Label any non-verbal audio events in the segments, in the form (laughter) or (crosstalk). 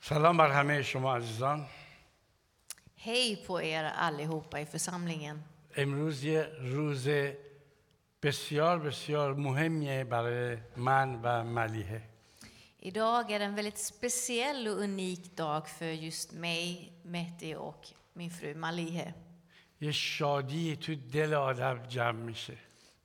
سلام بر همه شما عزیزان Hej på er allihopa i församlingen. امروز یه روز بسیار بسیار مهمیه برای من و ملیحه Idag är det en väldigt speciell och unik dag för just mig, Mehdi och min fru Malihe. یه شادی تو دل آدم جمع میشه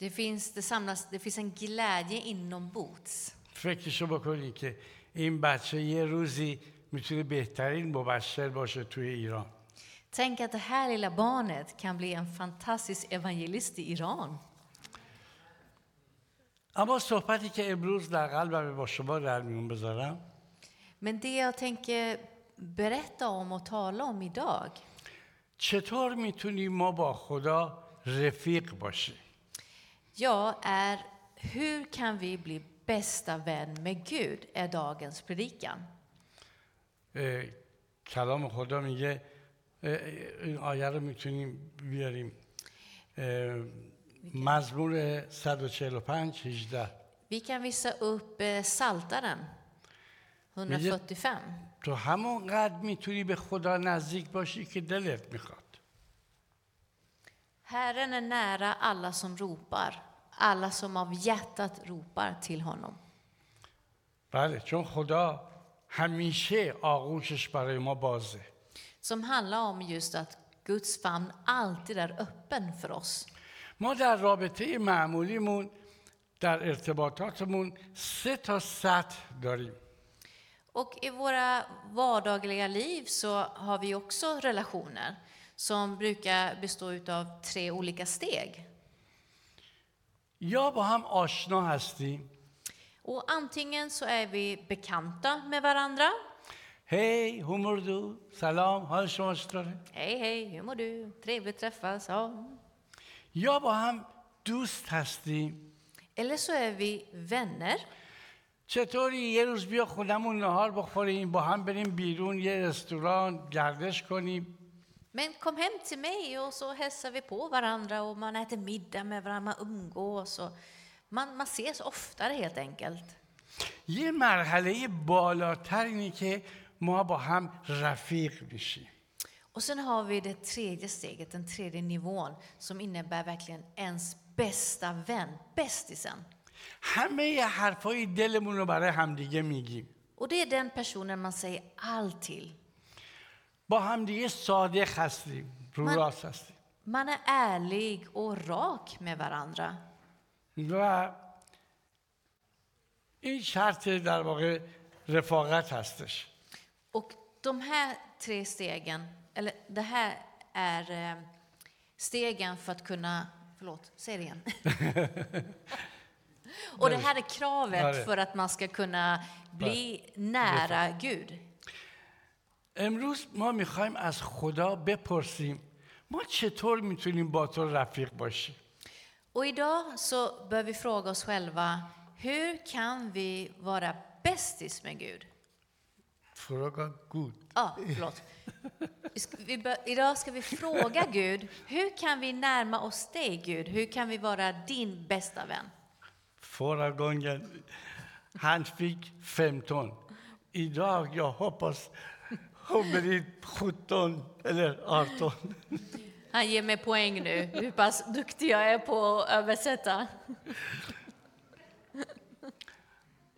Det finns, det, samlas, det finns en glädje inombords. فکرشو بکنی که این بچه یه روزی میتونه بهترین مبشر باشه توی ایران Tänk att det här lilla barnet kan bli en fantastisk evangelist i Iran. اما صحبتی که امروز در قلبم با شما در میون بذارم Men det jag tänker berätta om och tala om idag, چطور میتونیم ما با خدا رفیق باشیم ja, är hur kan vi bli bästa vän med Gud, är dagens predikan. اه، کلام خدا میگه اه، اه، این آیه رو میتونیم بیاریم اه، مزمور 145 18 Vi kan visa upp eh, Saltaren 145. تو همون قد میتونی به خدا نزدیک باشی که دلت میخواد Herren är nära alla som ropar, alla som av hjärtat ropar till honom. بله چون خدا همیشه آغوشش برای ما بازه Som handlar om just att Guds famn alltid är öppen för oss. ما در رابطه معمولیمون در ارتباطاتمون سه تا سطح داریم Och i våra vardagliga liv så har vi också relationer som brukar bestå av tre olika steg. یا با هم آشنا هستیم Och antingen så är vi bekanta med varandra. هی هومردو سلام حال شما چطوره Hej, hej, hur mår du? Trevligt träffas. Ja, یا با هم دوست هستیم Eller så är vi vänner. چطوری یه روز بیا خودمون نهار بخوریم با هم بریم بیرون یه رستوران گردش کنیم Men kom hem till mig och så hälsar vi på varandra och man äter middag med varandra, man umgås och man, man ses oftare helt enkelt. یه مرحله بالاتر اینه که ما با هم رفیق میشیم Och sen har vi det tredje steget, den tredje nivån som innebär verkligen ens bästa vän, bästisen. همه ی حرفای دلمون رو برای همدیگه میگیم Och det är den personen man säger allt till. با همدیگه صادق هستیم رو من- راست هستیم Man är ärlig och rak med varandra. و این شرط در واقع رفاقت هستش Och de här tre stegen, eller det här är eh, stegen för att kunna... Förlåt, säg det (laughs) igen. Och det här Ja, är det. kravet för att man ska kunna bli nära Gud. امروز ما میخوایم از خدا بپرسیم ما چطور میتونیم با تو رفیق باشیم Och idag så bör vi fråga oss själva, hur kan vi vara bästis med Gud? فراغا گود Ja, förlåt. Vi ska- Vi bör, idag ska vi fråga Gud, hur kan vi närma oss dig Gud? Hur kan vi vara din bästa vän? Föregången han fick 15. Idag jag hoppas hon blir 17 eller 18. Han ger mig poäng nu, hur pass duktig jag är på att översätta.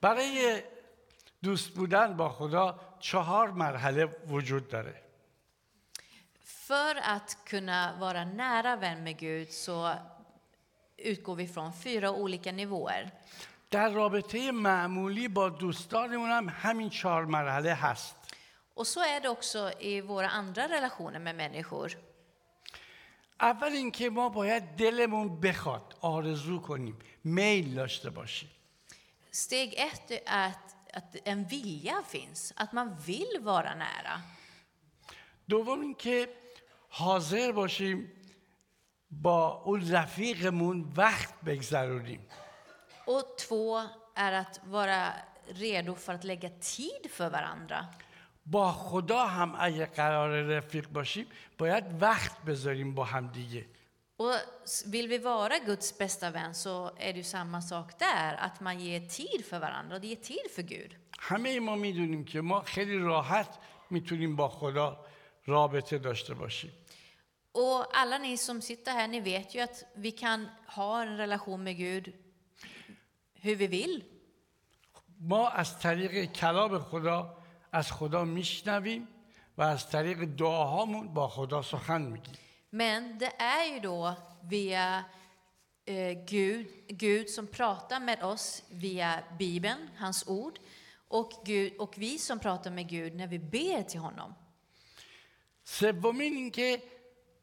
برای دوست بودن با خدا چهار مرحله وجود داره För att kunna vara nära vän med Gud så utgår vi från fyra olika nivåer. در رابطه معمولی با دوستانمون هم همین چهار مرحله هست Och så är det också i våra andra relationer med människor. اول اینکه ما باید دلمون بخواد آرزو کنیم میل داشته باشیم Steg ett är att, att en vilja finns, att man vill vara nära. دوم اینکه حاضر باشیم با اون رفیقمون وقت بگذرونیم Och två är att vara redo för att lägga tid för varandra. با خدا هم اگه قرار رفیق باشیم باید وقت بذاریم با هم دیگه Och s- vill vi vara Guds bästa vän så är det ju samma sak där, att man ger tid för varandra och ger tid för Gud. همه ما میدونیم که ما خیلی راحت میتونیم با خدا رابطه داشته باشیم Och alla ni som sitter här, ni vet ju att vi kan ha en relation med Gud hur vi vill. ما از طریق کلام خدا از خدا میشنویم و از طریق دعاهامون با خدا سخن میگیم Men det är ju då via eh, Gud, Gud som pratar med oss via Bibeln, hans ord, och, Gud, och vi som pratar med Gud när vi ber till honom. سومین اینکه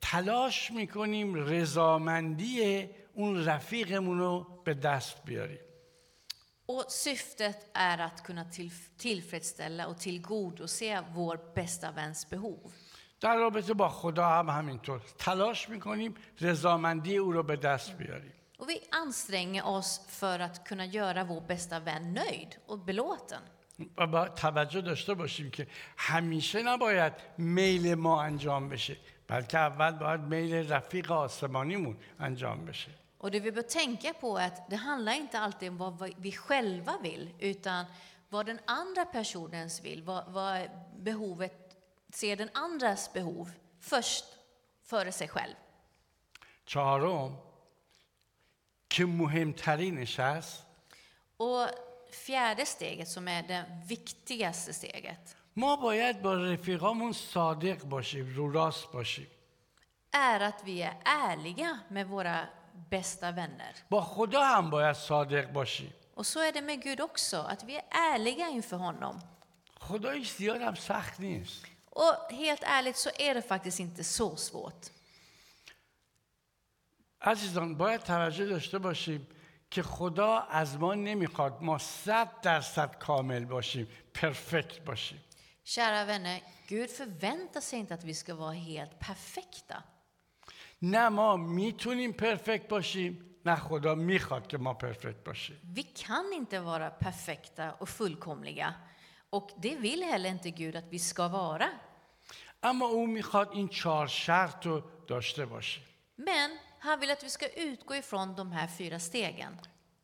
تلاش میکنیم رضامندی اون رفیقمون رو به دست بیاریم Och syftet är att kunna till, tillfredsställa och tillgodose vår bästa väns behov. در رابطه با خدا هم همینطور تلاش میکنیم رضامندی او رو به دست بیاریم Och vi anstränger oss för att kunna göra vår bästa vän nöjd och belåten. و با توجه داشته باشیم که همیشه نباید میل ما انجام بشه بلکه اول باید میل رفیق آسمانیمون انجام بشه Och det vi bör tänka på är att det handlar inte alltid om vad vi själva vill, utan vad den andra personens vill, vad, vad är behovet, ser den andras behov först, före sig själv. چهارم که مهمترینش است Och fjärde steget, som är det viktigaste steget, ما باید با رفیقامون صادق باشیم رو راست باشیم är att vi är ärliga med våra bästa vänner. با خدا هم باید صادق باشیم Och så är det med Gud också, att vi är ärliga inför honom. خدایش زیاد هم سخت نیست Och helt ärligt så är det faktiskt inte så svårt. عزیزان باید توجه داشته باشیم که خدا از ما نمیخواد ما صد درصد کامل باشیم پرفکت باشیم Kära vänner, Gud förväntar sig inte att vi ska vara helt perfekta. نه ما میتونیم پرفکت باشیم نه خدا میخواد که ما پرفکت باشیم Vi kan inte vara perfekta och fullkomliga. Och det vill heller inte Gud att vi ska vara. اما او میخواد این چهار شرط رو داشته باشیم Men han vill att vi ska utgå ifrån de här fyra stegen.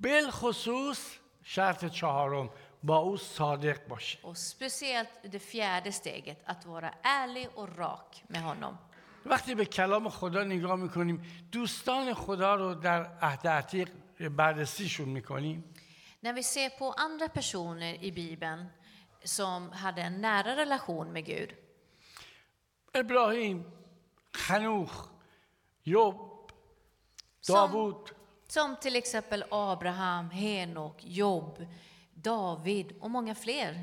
بالخصوص شرط چهارم با او صادق باشیم Och speciellt det fjärde steget, att vara ärlig och rak med honom. وقتی به کلام خدا نگاه میکنیم دوستان خدا رو در عهد عتیق بررسیشون میکنیم När vi ser på andra personer i Bibeln som hade en nära relation med Gud, ابراهیم خنوخ یوب Som- داوود Som till exempel Abraham, Henok, Job, David och många fler.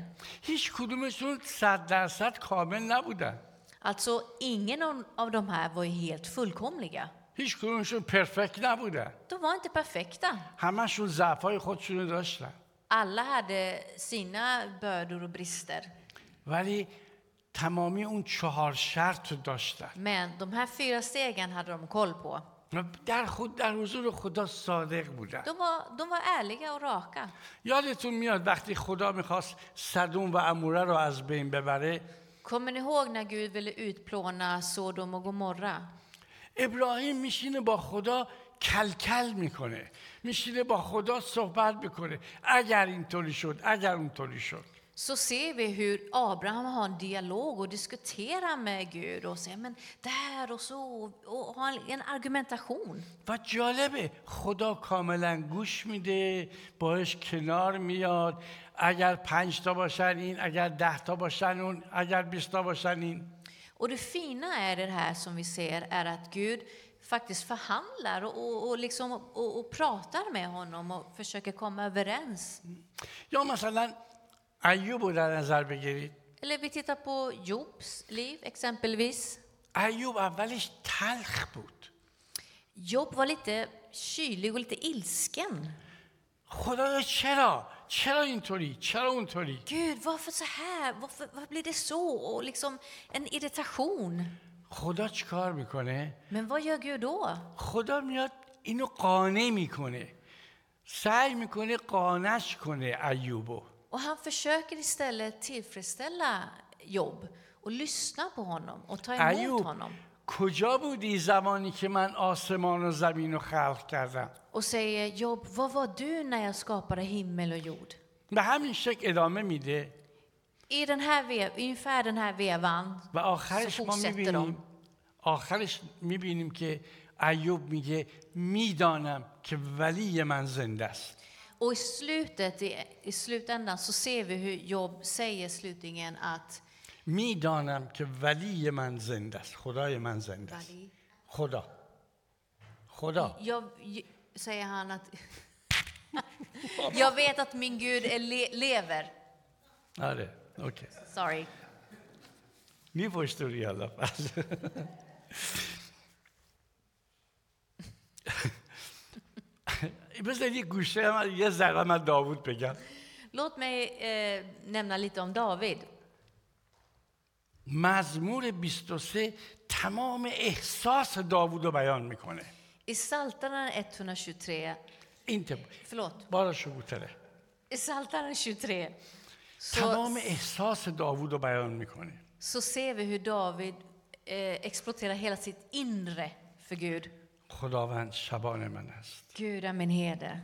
هیچ کدومشون صد درصد کامل نبودن Alltså, ingen av- av de här var ju helt fullkomliga. هیچ کدومشون پرفکت نبودن De var inte perfekta. همشون ضعفای خودشونو داشتن Alla hade sina bördor och brister. ولی تمامی اون چهار شرط رو داشتن Men de här fyra stegen hade de koll på. و در خود در حضور خدا صادق بودن De var, de var ärliga och raka. یادتون میاد وقتی خدا میخواست صدوم و اموره رو از بین ببره Kommer ni ihåg när Gud ville utplåna Sodom och Gomorra? ابراهیم میشینه با خدا کلکل میکنه میشینه با خدا صحبت میکنه اگر اینطوری شد اگر اونطوری شد så ser vi hur Abraham har en dialog och diskuterar med Gud och säger men det här och så och har en argumentation. و جالبه خدا کاملا گوش میده باش کنار میاد اگر پنج تا باشن این اگر ده تا باشن اون اگر بیست تا باشن این Och det fina är det här som vi ser är att Gud faktiskt förhandlar och, och, och, liksom, och, och pratar med honom och försöker komma överens. یا مثلا ایوب رو در نظر بگیرید Eller vi tittar på Jobs liv exempelvis. ایوب اولش تلخ بود Job var lite kylig och lite ilsken. خدایا چرا چرا اینطوری چرا اونطوری Gud, varför så här? Varför, varför blir det så? Och liksom en irritation. خدا چیکار میکنه Men vad gör Gud då? خدا میاد اینو قانع میکنه سعی میکنه قانعش کنه ایوبو Och han försöker istället tillfredsställa Job och lyssna på honom och ta emot ایوب honom. کجا بودی زمانی که من آسمان و زمین رو خلق کردم och säger Job, vad var du när jag skapade himmel och jord? به همین شکل ادامه میده I den här vev, ungefär den här vevan و آخرش سکوت ما ستر میبینیم آخرش میبینیم که ایوب میگه میدانم که ولی من زنده است och i slutet, i, i slutändan så ser vi hur Job säger slutligen att میدانم که ولی من زنده است خدای من زنده است خدا خدا jag, j- säger han att (laughs) jag vet att min Gud är le, lever. آره اوکی Sorry. میپشتوری حالا پس بذار یه گوشه من یه ذره من داوود بگم Låt mig eh, nämna lite om David. مزمور 23 تمام احساس داوود رو بیان میکنه I Psaltaren 123, این تب... förlåt, بارا شبوتره i Psaltaren 23 så, تمام احساس داوود رو بیان میکنه så ser vi hur David eh, exploaterar hela sitt inre för Gud. خداوند شبان من است Gud är min herde.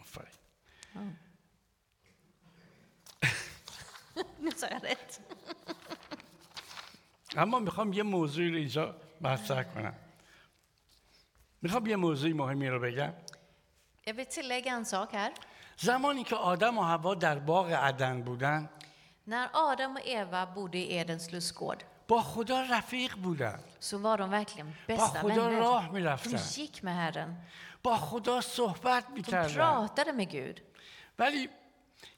آفرین Nu sa jag rätt. اما میخوام یه موضوعی رو اینجا مطرح کنم میخوام یه موضوع مهمی رو بگم Jag vill tillägga en sak här. زمانی که آدم و هوا در باغ عدن بودن När Adam och Eva bodde i Edens lustgård با خدا رفیق بودن så var de verkligen Vad bästa goda rör mig, vänner. Lafta. De gick med Herren. با خدا صحبت De میکردن pratade med Gud. ولی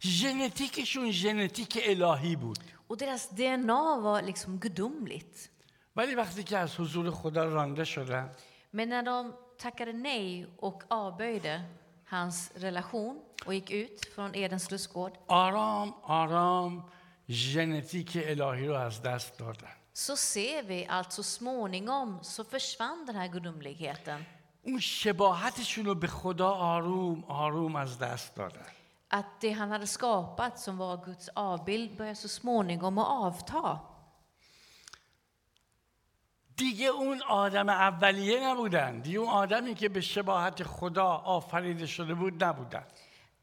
ژنتیکشون ژنتیک الهی بود Och deras DNA var liksom gudomligt. ولی وقتی که از حضور خدا رانده شدن Men när de tackade nej och avböjde hans relation och gick ut från Edens lustgård آرام آرام ژنتیک الهی رو از دست دادن så ser vi att så småningom så försvann den här gudomligheten. اون شباهتشون رو به خدا آروم آروم از دست دادن Att det han hade skapat som var Guds avbild började så småningom att avta. دیگه اون آدم اولیه نبودن دیگه اون آدمی که به شباهت خدا آفریده شده بود نبودن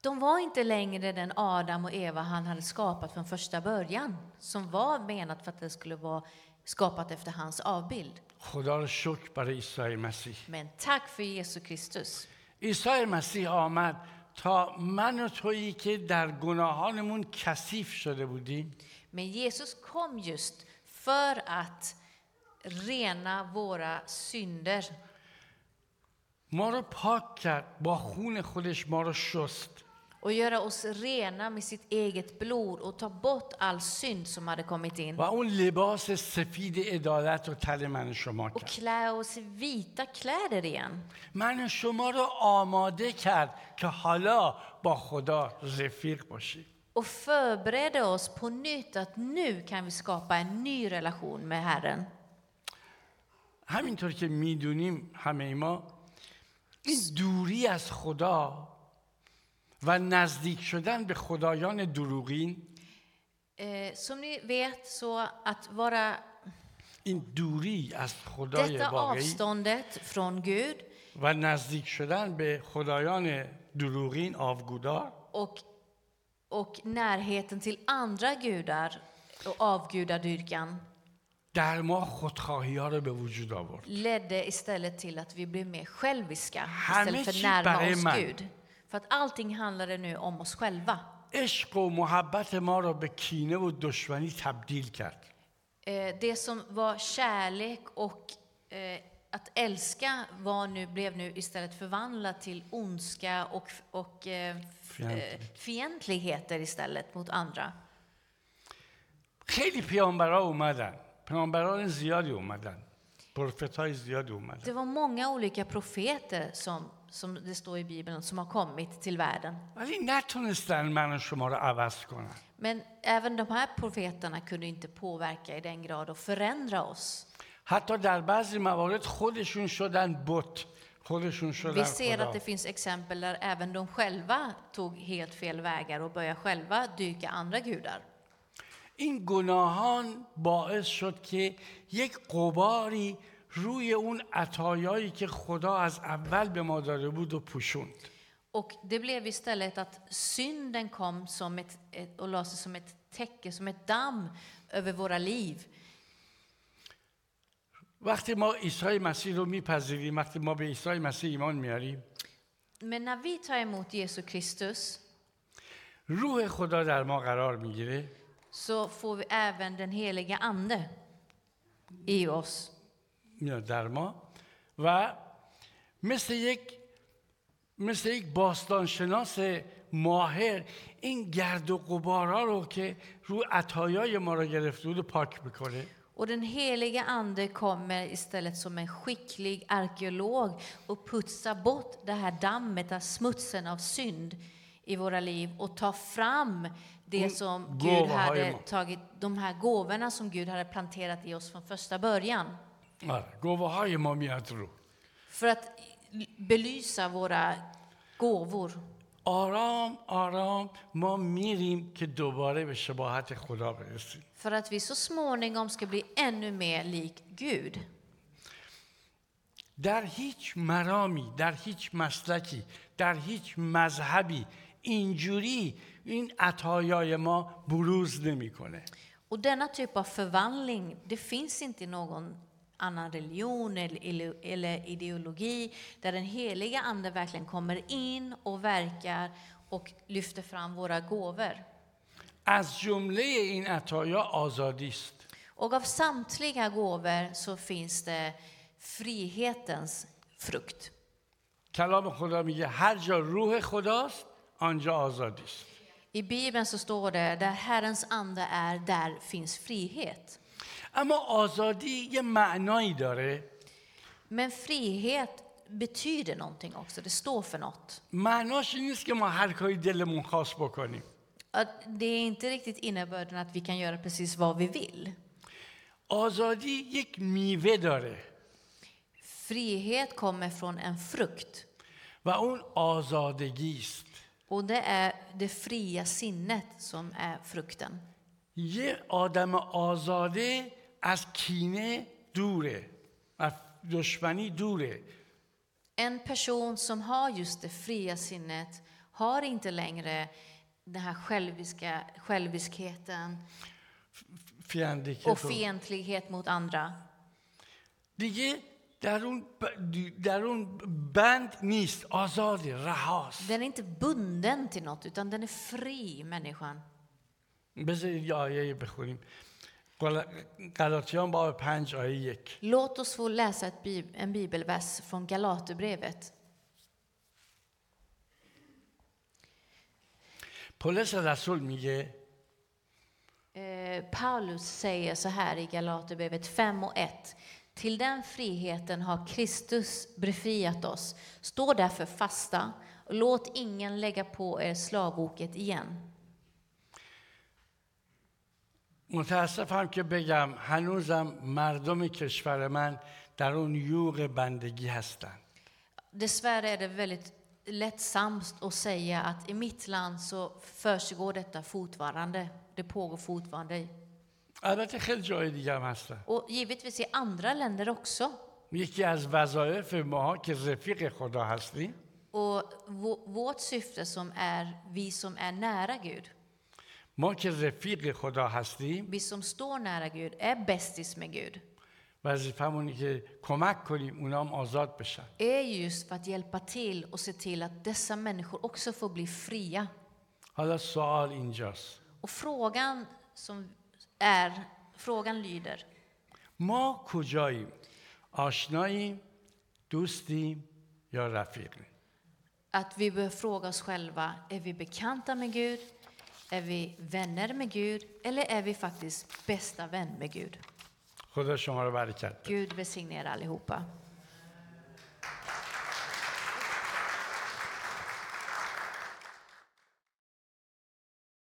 De var inte längre den Adam och Eva han hade skapat från första början som var menat för att det skulle vara skapat efter hans avbild. خدا رو شکر برای عیسی مسیح Men tack för Jesus Kristus. عیسی مسیح آمد تا من و تویی که در گناهانمون کثیف شده بودیم Men Jesus kom just för att rena våra synder. ما رو پاک کرد با خون خودش ما رو شست och göra oss rena med sitt eget blod och ta bort all synd som hade kommit in و اون لباس سفید عدالت رو تل من و شما och کرد klä oss i vita kläder igen. من و شما رو آماده کرد که حالا با خدا رفیق باشیم och förbereda oss på nytt att nu kan vi skapa en ny relation med Herren. همینطور که میدونیم همه ما این دوری از خدا و نزدیک شدن به خدایان دروغین Eh, som ni vet så att vara این دوری از خدای detta واقعی avståndet från Gud و نزدیک شدن به خدایان دروغین آبگودار och, och närheten till andra gudar och avgudadyrkan در ما خودخواهی ها رو به وجود آورد ledde istället till att vi blev mer själviska Här istället för mycket att närma berömmar. oss Gud. För att allting handlade nu om oss själva. عشق و محبت ما را به کینه و دشمنی تبدیل کرد Eh, Det som var kärlek och eh, att älska var nu, blev nu istället förvandlat till ondska och, och eh, f- eh, fientligheter istället mot andra. خیلی پیامبرا اومدن پیامبران زیادی اومدن پروفت های زیادی اومدن Det var många olika profeter som, som det står i Bibeln som har kommit till världen. ولی نتونستن من و شما رو عوض کنن Men även de här profeterna kunde inte påverka i den grad och förändra oss. حتی در بعضی موارد خودشون شدن بت خودشون شدن Vi ser خدا att det finns exempel där även de själva tog helt fel vägar och började själva dyka andra gudar. این گناهان باعث شد که یک قباری روی اون عطایایی که خدا از اول به ما داده بود و پوشوند Och det blev istället att synden kom som ett, ett, och la sig som ett täcke, som ett damm över våra liv. وقتی ما عیسی مسیح رو میپذیریم وقتی ما به عیسی مسیح ایمان میاریم Men när vi tar emot Jesus Kristus روح خدا در ما قرار میگیره så får vi även den heliga Ande i oss. میاد در ما و مثل یک مثل یک باستانشناس ماهر این گرد و غبارا رو که رو عطایای ما رو گرفته بود پاک میکنه Och den heliga Ande kommer istället som en skicklig arkeolog och putsar bort det här dammet, den här smutsen av synd i våra liv och tar fram det som Mm, gåva Gud har hade Emma. tagit, de här gåvorna som Gud hade planterat i oss från första början. آره گواه های ما میاد رو För att belysa våra gåvor. آرام آرام ما میریم که دوباره به شباهت خدا برسیم För att vi så småningom ska bli ännu mer lik Gud. در هیچ مرامی در هیچ مسلکی در هیچ مذهبی اینجوری این عطایای ما بروز نمیکنه Och denna typ av förvandling, det finns inte i någon annan religion eller, ele- eller ideologi där den heliga anden verkligen kommer in och verkar och lyfter fram våra gåvor. از جمله این عطایا آزادی است Och av samtliga gåvor så finns det frihetens frukt. کلام خدا میگه هر جا روح خداست آنجا آزادی است I Bibeln så står det där Herrens ande är, där finns frihet. اما آزادی یه معنایی داره Men frihet betyder någonting också, det står för något. معناش این نیست که ما هر کاری دلمون خاص بکنیم Att det är inte riktigt innebörden att vi kan göra precis vad vi vill. آزادی یک میوه داره Frihet kommer från en frukt و اون آزادگی است och det är det fria sinnet som är frukten. یه آدم آزاده از کینه دوره از دشمنی دوره En person som har just det fria sinnet har inte längre den här själviska, själviskheten فیندکت och و- fientlighet mot andra. دیگه در اون, ب- در اون بند نیست آزاده رهاست Den är inte bunden till något utan den är fri, människan. بذارید یه آیه بخونیم گل- گلاتیان باب پنج آیه یک Låt oss få läsa ett bib- en bibelvers från Galaterbrevet. پولس رسول میگه Eh, Paulus säger så här i Galaterbrevet 5 och 1. Till den friheten har Kristus befriat oss. Stå därför fasta och låt ingen lägga på er slavoket igen. متاسفم که بگم هنوزم مردم کشور من در اون یوغ بندگی هستن Dessvärre är det väldigt lättsamt att säga att i mitt land så försiggår detta fortfarande. Det pågår fortfarande. البته خیلی جای دیگه هم هستن Och givetvis i andra länder också. یکی از وظایف ما که رفیق خدا هستیم Och vå- vårt syfte som är vi som är nära Gud. ما که رفیق خدا هستیم Vi som står nära Gud är bästis med Gud. وظیفمونه که کمک کنیم اونام آزاد بشن är just för att hjälpa till och se till att dessa människor också får bli fria. حالا سوال اینجاست Och frågan som är, frågan lyder, ما کجاییم آشناییم دوستیم یا رفیقیم att vi bör fråga oss själva, är vi bekanta med Gud? Är vi vänner med Gud? Eller är vi faktiskt bästa vän med Gud? خدا شما رو برکت بده. Gud välsigne er allihopa.